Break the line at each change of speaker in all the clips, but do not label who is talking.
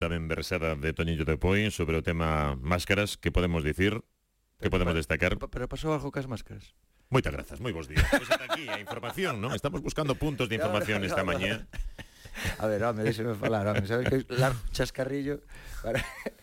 También versada de Toñillo de Poi sobre el tema máscaras, ¿qué podemos decir? ¿Qué
Pero
podemos
pa-
destacar?
pa- Pero pasou algo cas máscaras.
Moitas grazas, moi bons días. Pois ata aquí a información, non? Estamos buscando puntos de información esta mañá.
A ver, home, déxeme falar, home, sabes que largo chascarrillo para...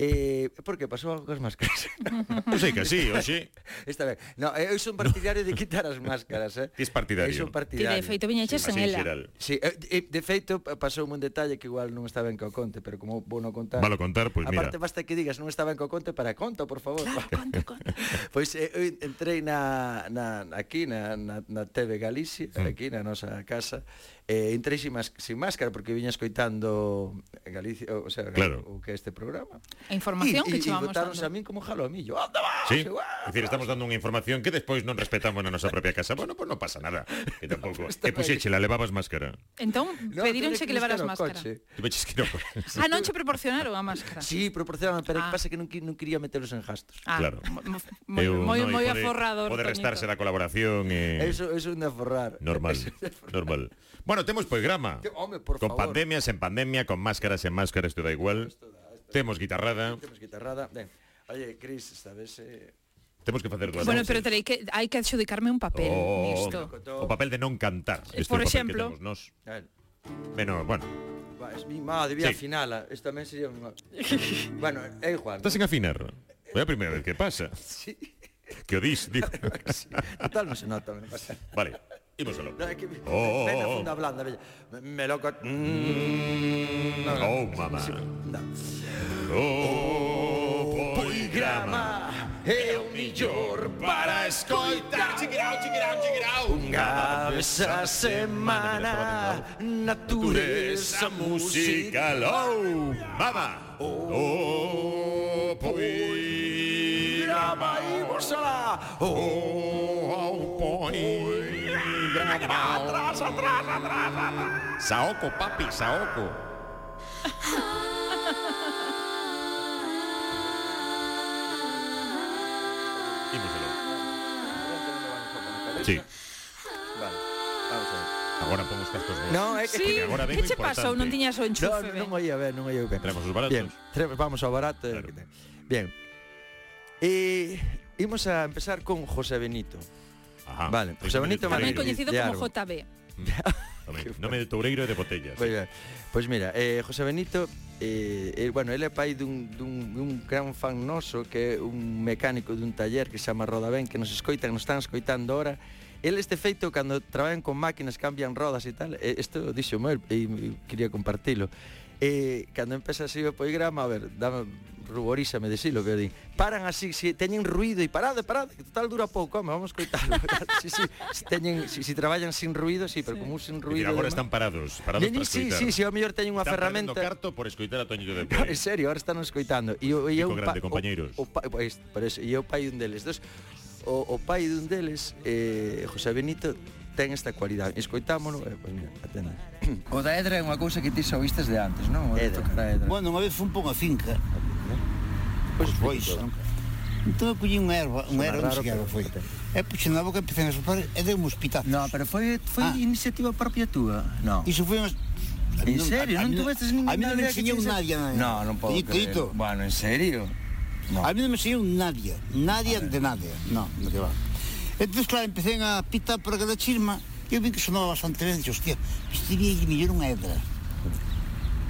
Eh, por que pasou algo cas máscaras?
Eu sei que sí, oxe,
Esta vez. No, eu son partidario de quitar as máscaras, eh?
ti es
Eu
partidario.
son
Que
partidario.
de feito viñeche
Así
sen
en
ela.
xeral.
Sí, eh, eh, de feito pa- pasoume un detalle que igual non está ben que o conte, pero como vou non contar...
Valo contar, pois mira.
Aparte basta que digas non está ben que o conte para conta, por favor.
Claro, conta, conta.
Pois eh, eu entrei na, na aquí na, na, na TV Galicia,
Mm.
aquí na nosa casa, eh, entrei sin, mas, sin máscara porque viña escoitando Galicia, o, o sea,
Claro.
o que é este programa.
A información
e, e, e
que che vamos
botáronse a
dando.
min como jalo a millo. Anda, vas,
Sí,
vas.
é dicir, estamos dando unha información que despois non respetamos na nosa propia casa. Bueno, pois non pasa nada, que tampouco.
está
E puxéchela, levabas máscara.
Entón,
No,
pedíronche
tuve
que levaras
estar ao
máscara.
coche.
Ti veches que non.
Ah, non che proporcionaron a máscara.
Sí, proporcionaban, pero
Ah.
pasa que non, qui- non quería metelos en gastos.
Ah,
Claro.
mo- mo-
Eu,
Moi
non, e
moi
pode-
aforrador.
Pode
Toñito.
restarse da colaboración e...
Eso, eso é un de aforrar.
Normal,
Eso é de aforrar.
normal. Bueno, temos poigrama.
Te- home, por
con
favor.
pandemia, sen pandemia, con máscaras, sen máscaras, isto da igual. Temos guitarrada,
Temos guitarrada. Ben, oye, Cris, esta vez... Eh...
temos que facer dúas
Bueno,
voces.
pero terei que hai que adxudicarme un papel
Oh,
nisto.
o papel de non cantar.
Eh,
Este
por
é o papel que
exemplo.
temos Nos.
A ver,
Menos, bueno,
va, es mi madre, vía
Sí.
sí. finala. Esta tamén sería unha... bueno, eh, é igual.
estás en afinar. É a primeira vez que pasa.
Sí.
Que o dis, digo.
sí. Total, non se nota. Non pasa.
Vale, imos aló.
No, é que...
Oh, oh,
Ven a
oh.
funda blanda, bella. Me loco... Mm, no, no.
Oh, mamá.
No.
O poigrama
é o millor
para escoitar. Chiquirao, chiquirao, chiquirao.
Unha vez a semana
Pureza
Natureza música
musical, oh, mama, oh, poigrama,
Grama e vos alá oh,
oh, poigrama. Atrás, atrás, atrás, atrás. Saoko, papi, saoko. Sí,
Vale, vamos a ver
agora pomos castos bons.
Non, é que
Sí,
que agora ven
que
o
che pasou?
importante.
Non tiñas
No,
o enchufe,
non o
ben.
ia ver, non o ia ver
Traemos os baratos.
Bien, tre- vamos ao barato é o
Claro.
que ten. Bien E imos a empezar con José Benito
Ajá.
Vale, José Benito Marín.
Tamén
Toureiro.
coñecido
De
como
árbol.
JB.
Tamén. Nome de toureiro e de botellas.
Pois, ben, pois mira, eh, José Benito eh, eh, Bueno, ele é pai dun, dun, dun gran fan noso Que é un mecánico dun taller que se chama Roda Ben Que nos escoitan, nos están escoitando ahora El este feito, cando traballan con máquinas, cambian rodas e tal eh, Isto dixo moel e e quería compartilo Eh, cando empeza así o poigrama, a ver, dame, ruborízame decilo, pero din, paran así, si teñen ruido e parade, parade, que total dura pouco, home, vamos coitalo. si, si, si, teñen, si, si traballan sin ruido, si, sí, pero como un
É
sin
dicir,
ruido...
agora
demais.
están parados, parados
Ni- ni-
para
sí,
escoitar.
sí, sí, ao mellor teñen unha
Están
ferramenta.
perdendo carto por escoitar a Toñillo de
No, en
Poi.
serio, ahora están escoitando. E o- e
Pico
eu
grande, compañeiros.
O, o, pa- pois, por eso, e eu pai dun deles. Dos, o, o pai dun deles, eh, José Benito, ten esta cualidade. Escoitámolo, eh, pois mira, atenda.
O da Edra é unha cousa que ti xa vistes de antes, non? O de
Edra.
tocar a Edra.
Bueno, unha vez fun pa unha finca,
Pois
os bois.
explica todo.
Entón eu collí unha erva,
Sona
unha erva, non
raro,
sei que erva
pero
foi.
ten.
E puxen na boca e empecé a sopar e dei uns pitazos.
No, pero foi foi
Ah.
iniciativa propia túa. Non.
Iso foi unhas... A mí
En serio,
a- a
non
mí
tuvestes ninguna
A mí non me
idea que
enseñou
te dicen-
nadie. nada.
No, non podo
Dito,
creer.
dito.
Bueno, en serio? No.
A mí non me enseñou nadie, nadie de nadie. No, no que va. Entón, claro, empecé a pitar por aquela chisma e eu vi que sonaba bastante ben. Dixo, hostia, este vi aí mellor unha edra.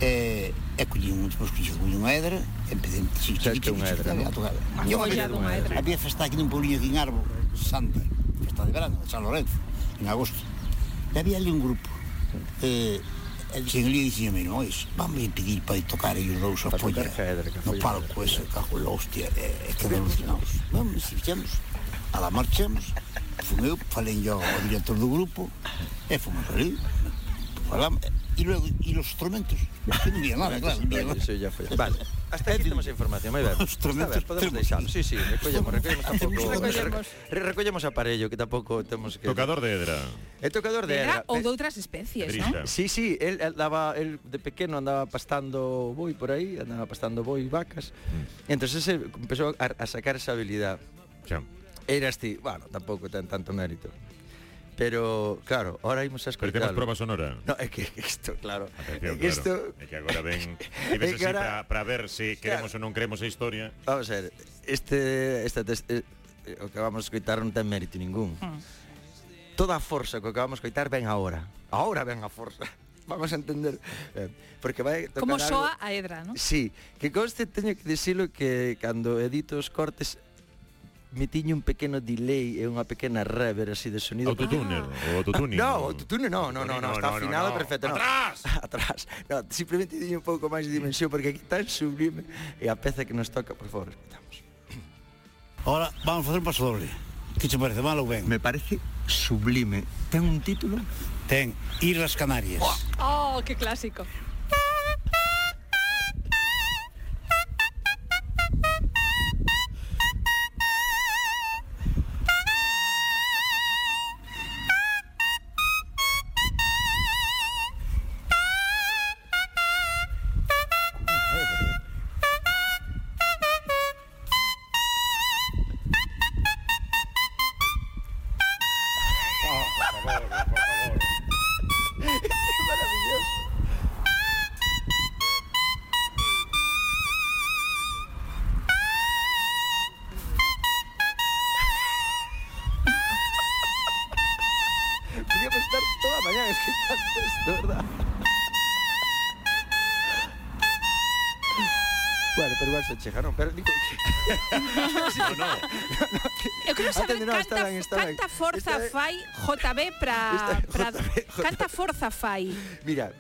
E, e collí un, despois collí collí unha edra, empecé a
Sabes que é unha edra, non?
a tocar.
Unha olla dunha edra.
Había festa aquí nun pueblinho aquí en Arbo, Santa, festa de verano, de San Lorenzo, en agosto. E había ali un grupo. Eh, e dixen ali, dixen, mira, ois, vamos a pedir para ir tocar aí os dous a
Para
polla.
tocar caedra, que
No
foi
palco ese, cajo la hostia, e, e quedamos alucinados. Vamos, e fixemos, a la marchamos, fun eu, falei yo ao director do grupo, e fomos ali, falamos, e logo, e os instrumentos, que non vía nada, claro, non vía nada.
Eso ya foi. Vale. Hasta aquí temos a información, moi ben.
Os tremendos
Está ben, podemos
termos.
deixar. Sí, sí, recollemos, recollemos tampouco.
Recollemos.
Re- recollemos aparello, que tampouco temos que...
Tocador de edra.
É tocador de
Era
era.
ou de outras especies,
Pedrita.
non?
Sí, sí, él, él daba él de pequeno andaba pastando boi por aí, andaba pastando boi e vacas. Mm. Entonces se empezou a, a sacar esa habilidade.
Xa.
Eras ti, bueno, tampouco ten tanto mérito. Pero, claro, ahora imos a
Pero temos
escoitalo.
prova sonora.
No, é que isto, claro.
Atención,
é que isto...
claro. É que agora ven, tivese
é que
así
ahora-
para ver se
Claro.
queremos ou non queremos a historia.
Vamos a ver, este, esta, tes- eh, o que vamos a escoitar non ten mérito ningún.
Mm.
Toda a forza que acabamos de escoitar ven ahora. Ahora ven a forza. Vamos a entender. Eh, porque vai tocar
Como
algo...
soa a Edra, ¿no?
Sí, que conste teño que dicilo que cando edito os cortes me tiño un pequeno delay e unha pequena rever así de sonido.
Autotune, o autotune.
No, autotune no, no, no, no, está afinado perfecto. No.
Atrás!
Atrás. No, simplemente tiño un pouco máis de dimensión porque aquí tan sublime e a peza que nos toca, por favor, escutamos.
Ahora vamos a hacer un paso doble. ¿Qué te parece, mal o bien?
Me parece sublime. Ten un título
Ten, ir las Canarias.
Oh, qué clásico.
Podíamos estar toda a mañá escoitando isto, verdad? Bueno, pero igual se chega, non, pero Nico, que...
Eu quero saber
Atende, no,
canta,
está ben, está ben.
canta forza
Está ben.
fai JB para...
Está-
para
JB.
canta forza fai.
mira,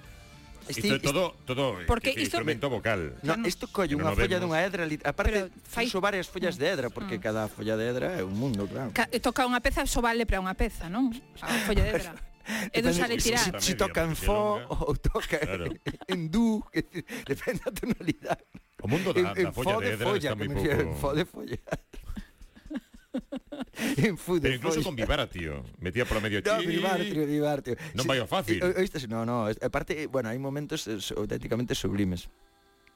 Isto é todo, todo
Porque
que- que
isto-
instrumento vocal.
Este- No, isto colle
Pero
unha
no
folla
vemos.
dunha edra, lit- aparte
Pero fai- Mm.
uso varias follas de edra, porque cada folla de edra é un mundo, claro.
Ca- eh, toca unha peza, só vale para unha peza, non? A folla de Edra. Edu
Depende-
sale
si-
tirar.
Si, si toca en
Media,
fo
porque longa.
ou toca
Claro.
en du, que decir, depende da tonalidade.
O mundo da, da folla de edra está
que
moi
me refiero, en fo
pouco...
de folla. en fu de
Pero incluso
folla.
con Vivara, tío. Metía por medio...
No, divárteo, divárteo.
Non vai ao fácil.
eh, Oíste, no, no, es- aparte, bueno, hai momentos eh, so- auténticamente sublimes.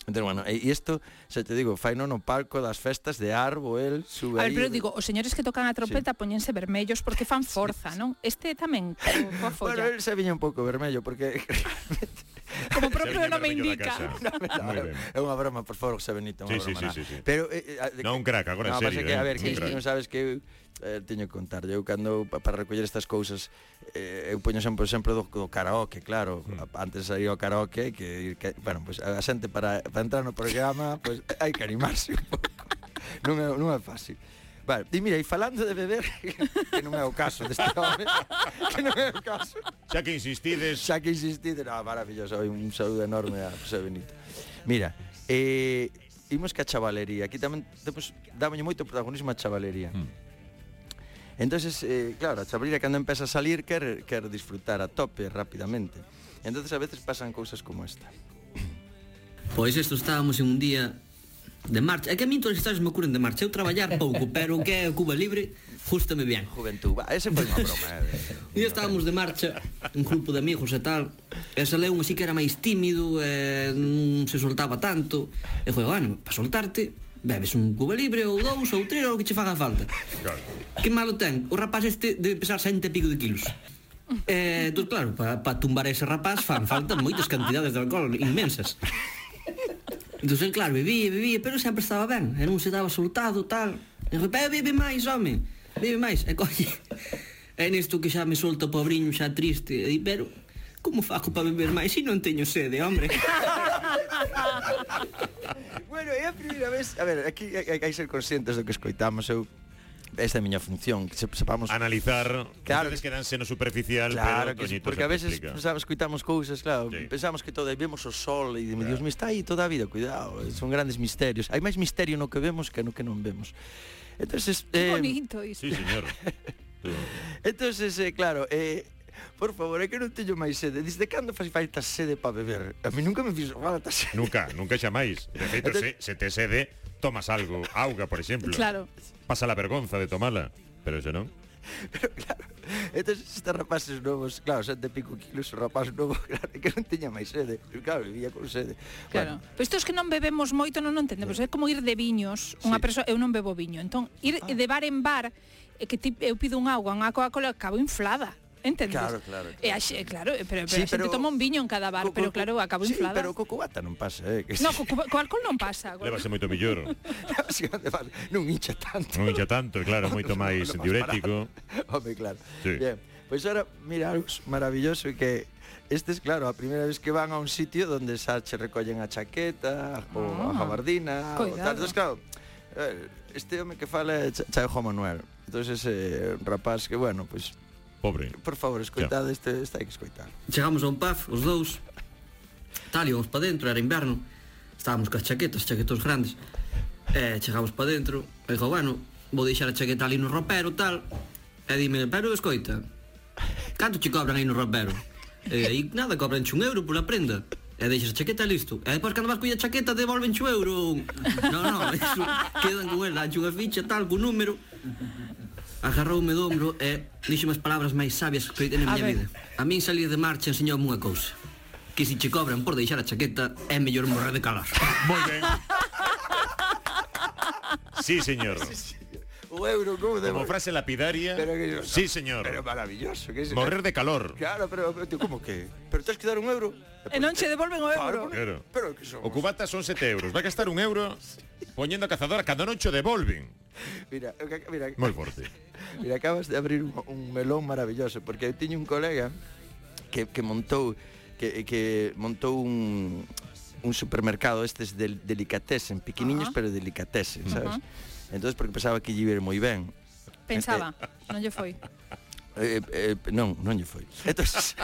Entón, bueno, e e isto, xa te digo, fai no palco das festas de Arbo, el sube
A ver,
aí-
pero digo, os señores que tocan a trompeta poñense vermellos porque fan forza, non? Este tamén, co- coa
Bueno, eh,
folla.
el se viña un pouco vermello, porque
Como propio nome indica.
Moi ben.
é unha broma, por favor, José Benito, unha
Sí, sí,
broma.
sí,
nada.
sí, sí.
Pero eh, eh,
Non, un crack, agora en
no,
serio.
pasa que,
eh,
a ver,
un
que
crack.
isto non sabes que eu, eh, teño que contar. Eu cando pa- para recoller estas cousas eh, eu poño sempre o exemplo do, do karaoke, claro.
Hmm.
A- Antes de sair ao karaoke que, ir que bueno, pois a xente para, para entrar no programa, pois hai que animarse un pouco. Non é, non é fácil. Vale, e mira, e falando de beber, que non é o caso deste home, que non é o caso.
Xa que insistides...
Xa que insististe, no, maravilloso, e un saúdo enorme a José Benito. Mira, eh, imos que a chavalería, aquí tamén temos, dámoñe moito protagonismo a chavalería. Mm. Entonces, eh, claro, a chavalería cando empeza a salir quer, quer disfrutar a tope rapidamente. Entonces a veces pasan cousas como esta.
Pois isto estábamos en un día de marcha. É que a mí todas as historias me ocurren de marcha. Eu traballar pouco, pero o que é Cuba Libre, justame bien.
Juventud, va, ese foi unha broma, eh.
Un día estábamos de marcha, un grupo de amigos e tal, e saleu un así que era máis tímido, e non se soltaba tanto, e foi, bueno, para soltarte, bebes un cuba libre ou dous ou tres ou o que che faga falta.
Claro.
Que malo ten, o rapaz este debe pesar 60 e pico de quilos. Eh, entón, claro, para pa tumbar a ese rapaz fan falta moitas cantidades de alcohol inmensas. Entón, el, claro, bebía, bebía, pero sempre estaba ben. E non se daba soltado, tal. E foi, "Pero bebe máis, home, bebe máis. E colle. E nisto que xa me solta o pobriño xa triste. E di, pero, como faco para beber máis se non teño sede, hombre?
Bueno, é a primeira vez, a ver, aquí hai, hai que ser conscientes do que escoitamos, eu esta é a miña función, que se- sepamos
Analizar...
Claro.
Ustedes quedanse no superficial,
Claro
pero
que sí,
Toñito
porque
xa te
a veces
explica.
pensamos, escuitamos cousas, claro,
Sí.
sí. pensamos que todo, e vemos o sol e dime, Dios me está aí toda a vida, cuidado, eh, son grandes misterios. Hai máis misterio no que vemos que no que non vemos. Entonces, eh,
Que bonito isto.
Sí, señor. Sí.
entonces eh, claro, eh, por favor, é que non teño máis sede. Desde cando fai falta sede para beber? A mí nunca me fixo falta sede.
Nunca, nunca chamáis. De feito, se, se te sede, tomas algo. Auga, por exemplo.
Claro.
Pasa la vergonza de tomala. Pero se non...
Entonces, estes rapaces novos, claro, sete e pico kilos, o rapaz novo, claro, é que non teña máis sede. E, Claro, vivía con sede.
Claro. Pero isto es que non bebemos moito, non o entendemos. É como ir de viños.
Sí. Ah.
Unha persoa, eu non bebo viño. Entón, ir de bar en bar, é que ti, eu pido un agua, unha Coca-Cola, acabo inflada. entendes?
Claro, claro,
E a xe- claro, eh, pero, pero a xente toma un viño en cada
co-
bar,
co-
pero claro, acabo
sí,
inflada.
pero co cubata non pasa, eh, que
No, co, co- co alcohol non pasa. co-
Levase moito mellor.
se- non hincha tanto.
Non hincha tanto, e claro, moito máis
Non, non,
diurético.
Home, claro.
Sí.
Bien. Pois pues ahora, mira, algo maravilloso que estes, claro, a primeira vez que van a un sitio donde xa che recollen a chaqueta, ou a
Ah.
gabardina, ou
Cuidado.
tal. Entonces, claro, eh, este home que fala é Cha- Chaijo Manuel. Entonces, ese rapaz que, bueno, pois, pues,
Pobre.
por favor, escoitade, este, este hai que escoitar.
Chegamos a un pub, os dous Tal, íbamos para dentro, era inverno Estábamos coas chaquetas, chaquetos grandes E chegamos para dentro E dixo, bueno, vou deixar a chaqueta ali no ropero, tal E dime, pero escoita Canto che cobran aí no ropero? E aí nada, cobran un euro pola prenda E deixas a chaqueta e listo E depois cando vas colla chaqueta devolven un euro Non, non, iso, quedan con ela Anche unha ficha, tal, co número Agarroume do ombro e dixome as palabras máis sabias que escoitei na
A
miña
ver.
vida. A min salir de marcha enseñoume unha cousa. Que se che cobran por deixar a chaqueta é mellor morrer de calor.
Moi ben. Sí, señor.
O euro, como de...
Como frase lapidaria.
Pero que yo-
Sí, señor.
Pero maravilloso, que es...
Morrer de calor.
Claro, pero, pero tío, como que? Pero te has que dar un euro.
E non che devolven o euro.
Claro, porque-
Claro.
pero que somos.
O cubata son 7 euros. Vai gastar un euro poñendo a cazadora cando non cho devolven.
Mira, ca- mira,
Moi forte.
mira, acabas de abrir un, un melón maravilloso porque eu tiño un colega que, que montou que, que montou un un supermercado estes del delicatessen, pequeniños
Ajá.
pero delicatessen, sabes? Entonces porque pensaba que lle iba a ir moi ben.
Pensaba, non lle foi.
Eh, eh, non, non lle foi. Entonces,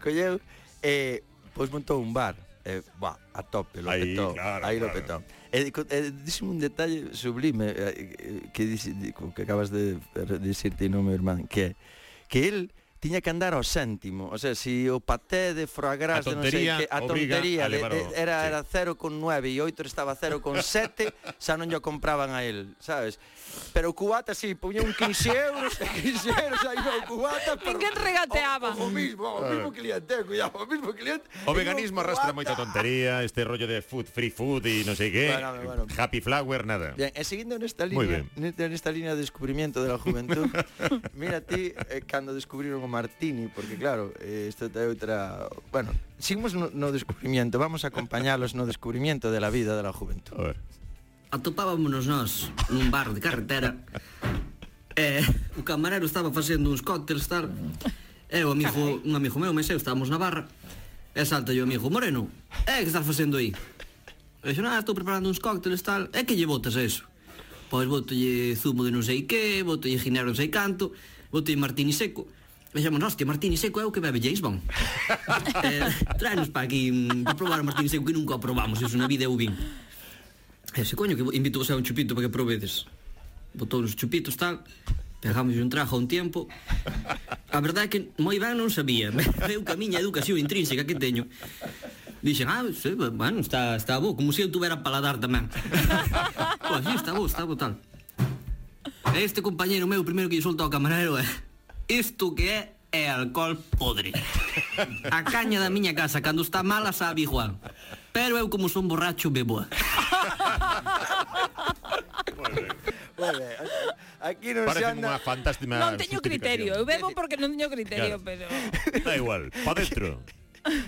colleu, eh, pois montou un bar. Eh, bah, a tope, lo
Aí,
petou.
claro,
aí lo
claro.
petou. E, co- e dixe un detalle sublime eh, eh, que, dixe, di- co que acabas de de dicirte non, meu irmán, que que el tiña que andar ao céntimo, o sea, si o paté de foie gras
A
de non sei
tontería
que, a
obriga
tontería
a
de,
levar
de,
o-
era
sí.
era 0,9 e 8 estaba 0,7, xa non lle compraban a el, sabes? Pero o cubata si, sí, poñía un 15 euros, e 15 euros aí no cubata. pero-
Ninguén regateaba.
O, o mismo, o mismo cliente, eh, cuidado, o mismo cliente.
Ah. O veganismo
E un
arrastra
cubata.
moita tontería, este rollo de food, free food e non sei que.
Bueno, bueno.
Happy flower, nada.
Bien, e seguindo nesta
Muy bien.
línea, nesta, nesta línea de descubrimiento de la juventud, mira ti eh, cando descubriron o Martini, porque claro, eh, isto é outra, bueno, seguimos no, no descubrimiento, vamos a acompañalos no descubrimiento de la vida de la juventud.
A ver.
Atopábamonos nós nun bar de carretera E o camarero estaba facendo uns cócteles tal E o amigo, un amigo meu, mas eu, estábamos na barra E salta o amigo Moreno E que estás facendo aí? E dixo, nada, estou preparando uns cócteles tal E que lle botas a eso? Pois botolle zumo de non sei que Botolle ginebra non sei canto Botolle martini seco E dixemos, hostia, martini seco é o que bebe James Bond eh, Traenos para aquí mm, Para probar o martini seco que nunca o probamos Iso na vida eu vin E se coño que invito a un chupito para que probedes Botou uns chupitos tal Pegamos un trago a un tempo A verdade é que moi ben non sabía Eu que a miña educación intrínseca que teño Dixen, ah, sí, bueno, está, está bo Como se eu tuvera paladar tamén Pois sí, está bo, está bo tal E Este compañero meu primeiro que lle solta ao camarero é Isto que é é alcohol podre A caña da miña casa cando está mala sabe igual Pero eu como son borracho beboa
Vale, aquí non se
Parece
anda...
unha fantástica
Non teño criterio, eu bebo porque non teño criterio,
Claro.
pero
Da igual, pa dentro.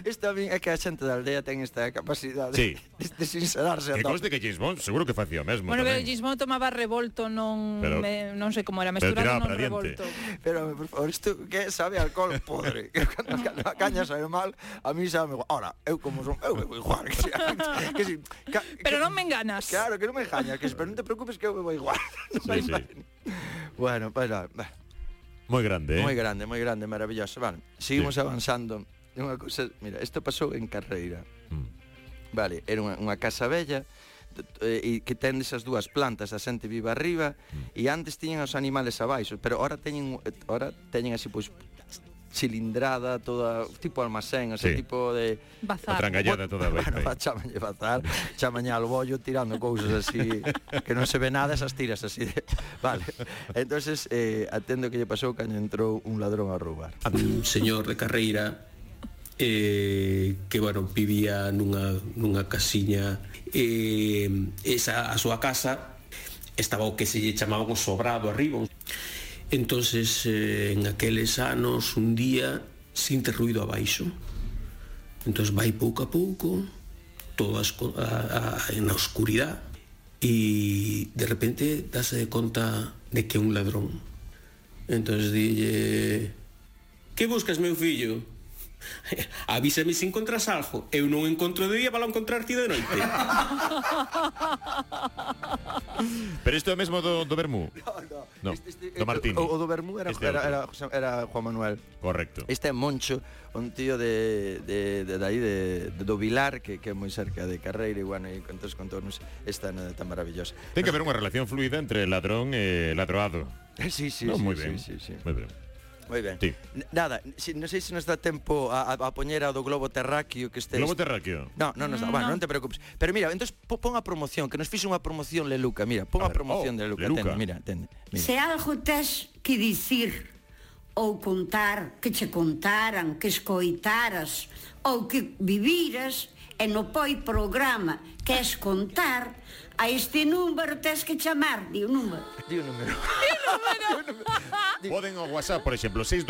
Isto a mí é que a xente da aldea ten esta capacidade
Sí.
de, de sincerarse a
Que
tope.
conste que James Bond seguro que facía o mesmo
Bueno, pero
tamén.
Gismo tomaba revolto, non
Pero-
me, non sei como era,
pero
mesturado
tiraba
non
para diante.
revolto.
Pero, por favor, isto que sabe a alcohol podre Que cando cando a caña sabe mal A mí sabe igual Ahora, eu como son Eu bebo igual Que si, que si, ca, que,
Pero non me enganas.
Claro, que non me engañas que, si- Pero non te preocupes que eu bebo igual
Sí, sí.
Bueno, bueno, bueno
Moi grande, eh?
Moi grande, moi grande, maravilloso. Vale, seguimos sí. avanzando. Unha cousa, mira, isto pasou en Carreira.
Mm.
Vale, era unha, unha casa bella t- t- eh, e que ten esas dúas plantas, a xente vive arriba
Mm.
e antes tiñan os animales abaixo, pero ahora teñen eh, ahora teñen así pois cilindrada toda tipo almacén, ese
Sí.
tipo de
A
Bazar.
trangallada toda eh. a
bueno,
vez.
chamalle bazar, chamalle al bollo tirando cousas así que non se ve nada esas tiras así. De... Vale. Entonces, eh, atendo que lle pasou cando entrou un ladrón a roubar.
un señor de carreira eh, que, bueno, vivía nunha, nunha casiña eh, esa, a súa casa estaba o que se lle chamaban o sobrado arriba Entonces, eh, en aqueles anos, un día, sinte ruido abaixo. Entón vai pouco a pouco, todas co- a, a, en a oscuridade, e de repente dase de conta de que é un ladrón. Entón dille, que buscas, meu fillo? Avísame se encontras algo. Eu non encontro de día para encontrar ti de noite.
Pero isto é mesmo do, do Bermú. No, do Martini.
Este, O, o do Bermú era,
Este é
era,
outro.
era, José- era Juan Manuel.
Correcto.
Este é Moncho, un tío de, de, de, de aí, de, de, do Vilar, que, que é moi cerca de Carreira, e bueno, e contos contornos esta nada tan maravillosa.
Ten que haber unha relación fluida entre ladrón e ladroado.
Sí, sí,
no,
sí,
moi
sí,
ben.
sí, sí.
Moi ben.
Moi ben.
Sí.
N- Nada, si, non sei se nos dá tempo a, a, a poñer a do globo terráqueo que este...
Globo terráqueo.
No, non nos dá,
No,
bueno,
no.
non te preocupes. Pero mira, entonces po- pon a promoción, que nos fixe unha promoción Leluca, mira, pon
A
a,
ver, oh,
promoción de Leluca,
Leluca.
ten, mira, ten. Mira.
Se algo tes que dicir ou contar que che contaran, que escoitaras ou que viviras e no poi programa que es contar, a este número tes que chamar, di o número.
Di o número. Ah,
Poden o WhatsApp, por exemplo, e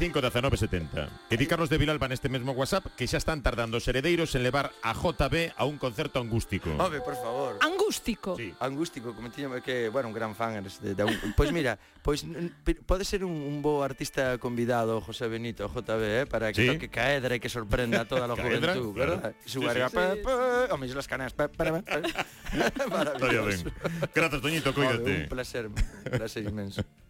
627-75-1970 Que di Carlos de Vilalba neste mesmo WhatsApp Que xa están tardando os heredeiros en levar a JB a un concerto angústico
Home, por favor.
Angústico.
Sí.
Angústico, como tiñame que, bueno, un gran fan eres de, de un, Pois mira, pois n- pi- pode ser un, un bo artista convidado José Benito, JB, eh, para que
Sí.
toque caedra e que sorprenda a toda la
Caedra,
juventud,
claro.
¿verdad?
Sí,
Su
sí.
barriga, pa, pa, homes, las canas, pa, para, para.
Está bien.
Maravilloso.
Gracias, Toñito,
Joder,
cuídate
un placer, un placer inmenso.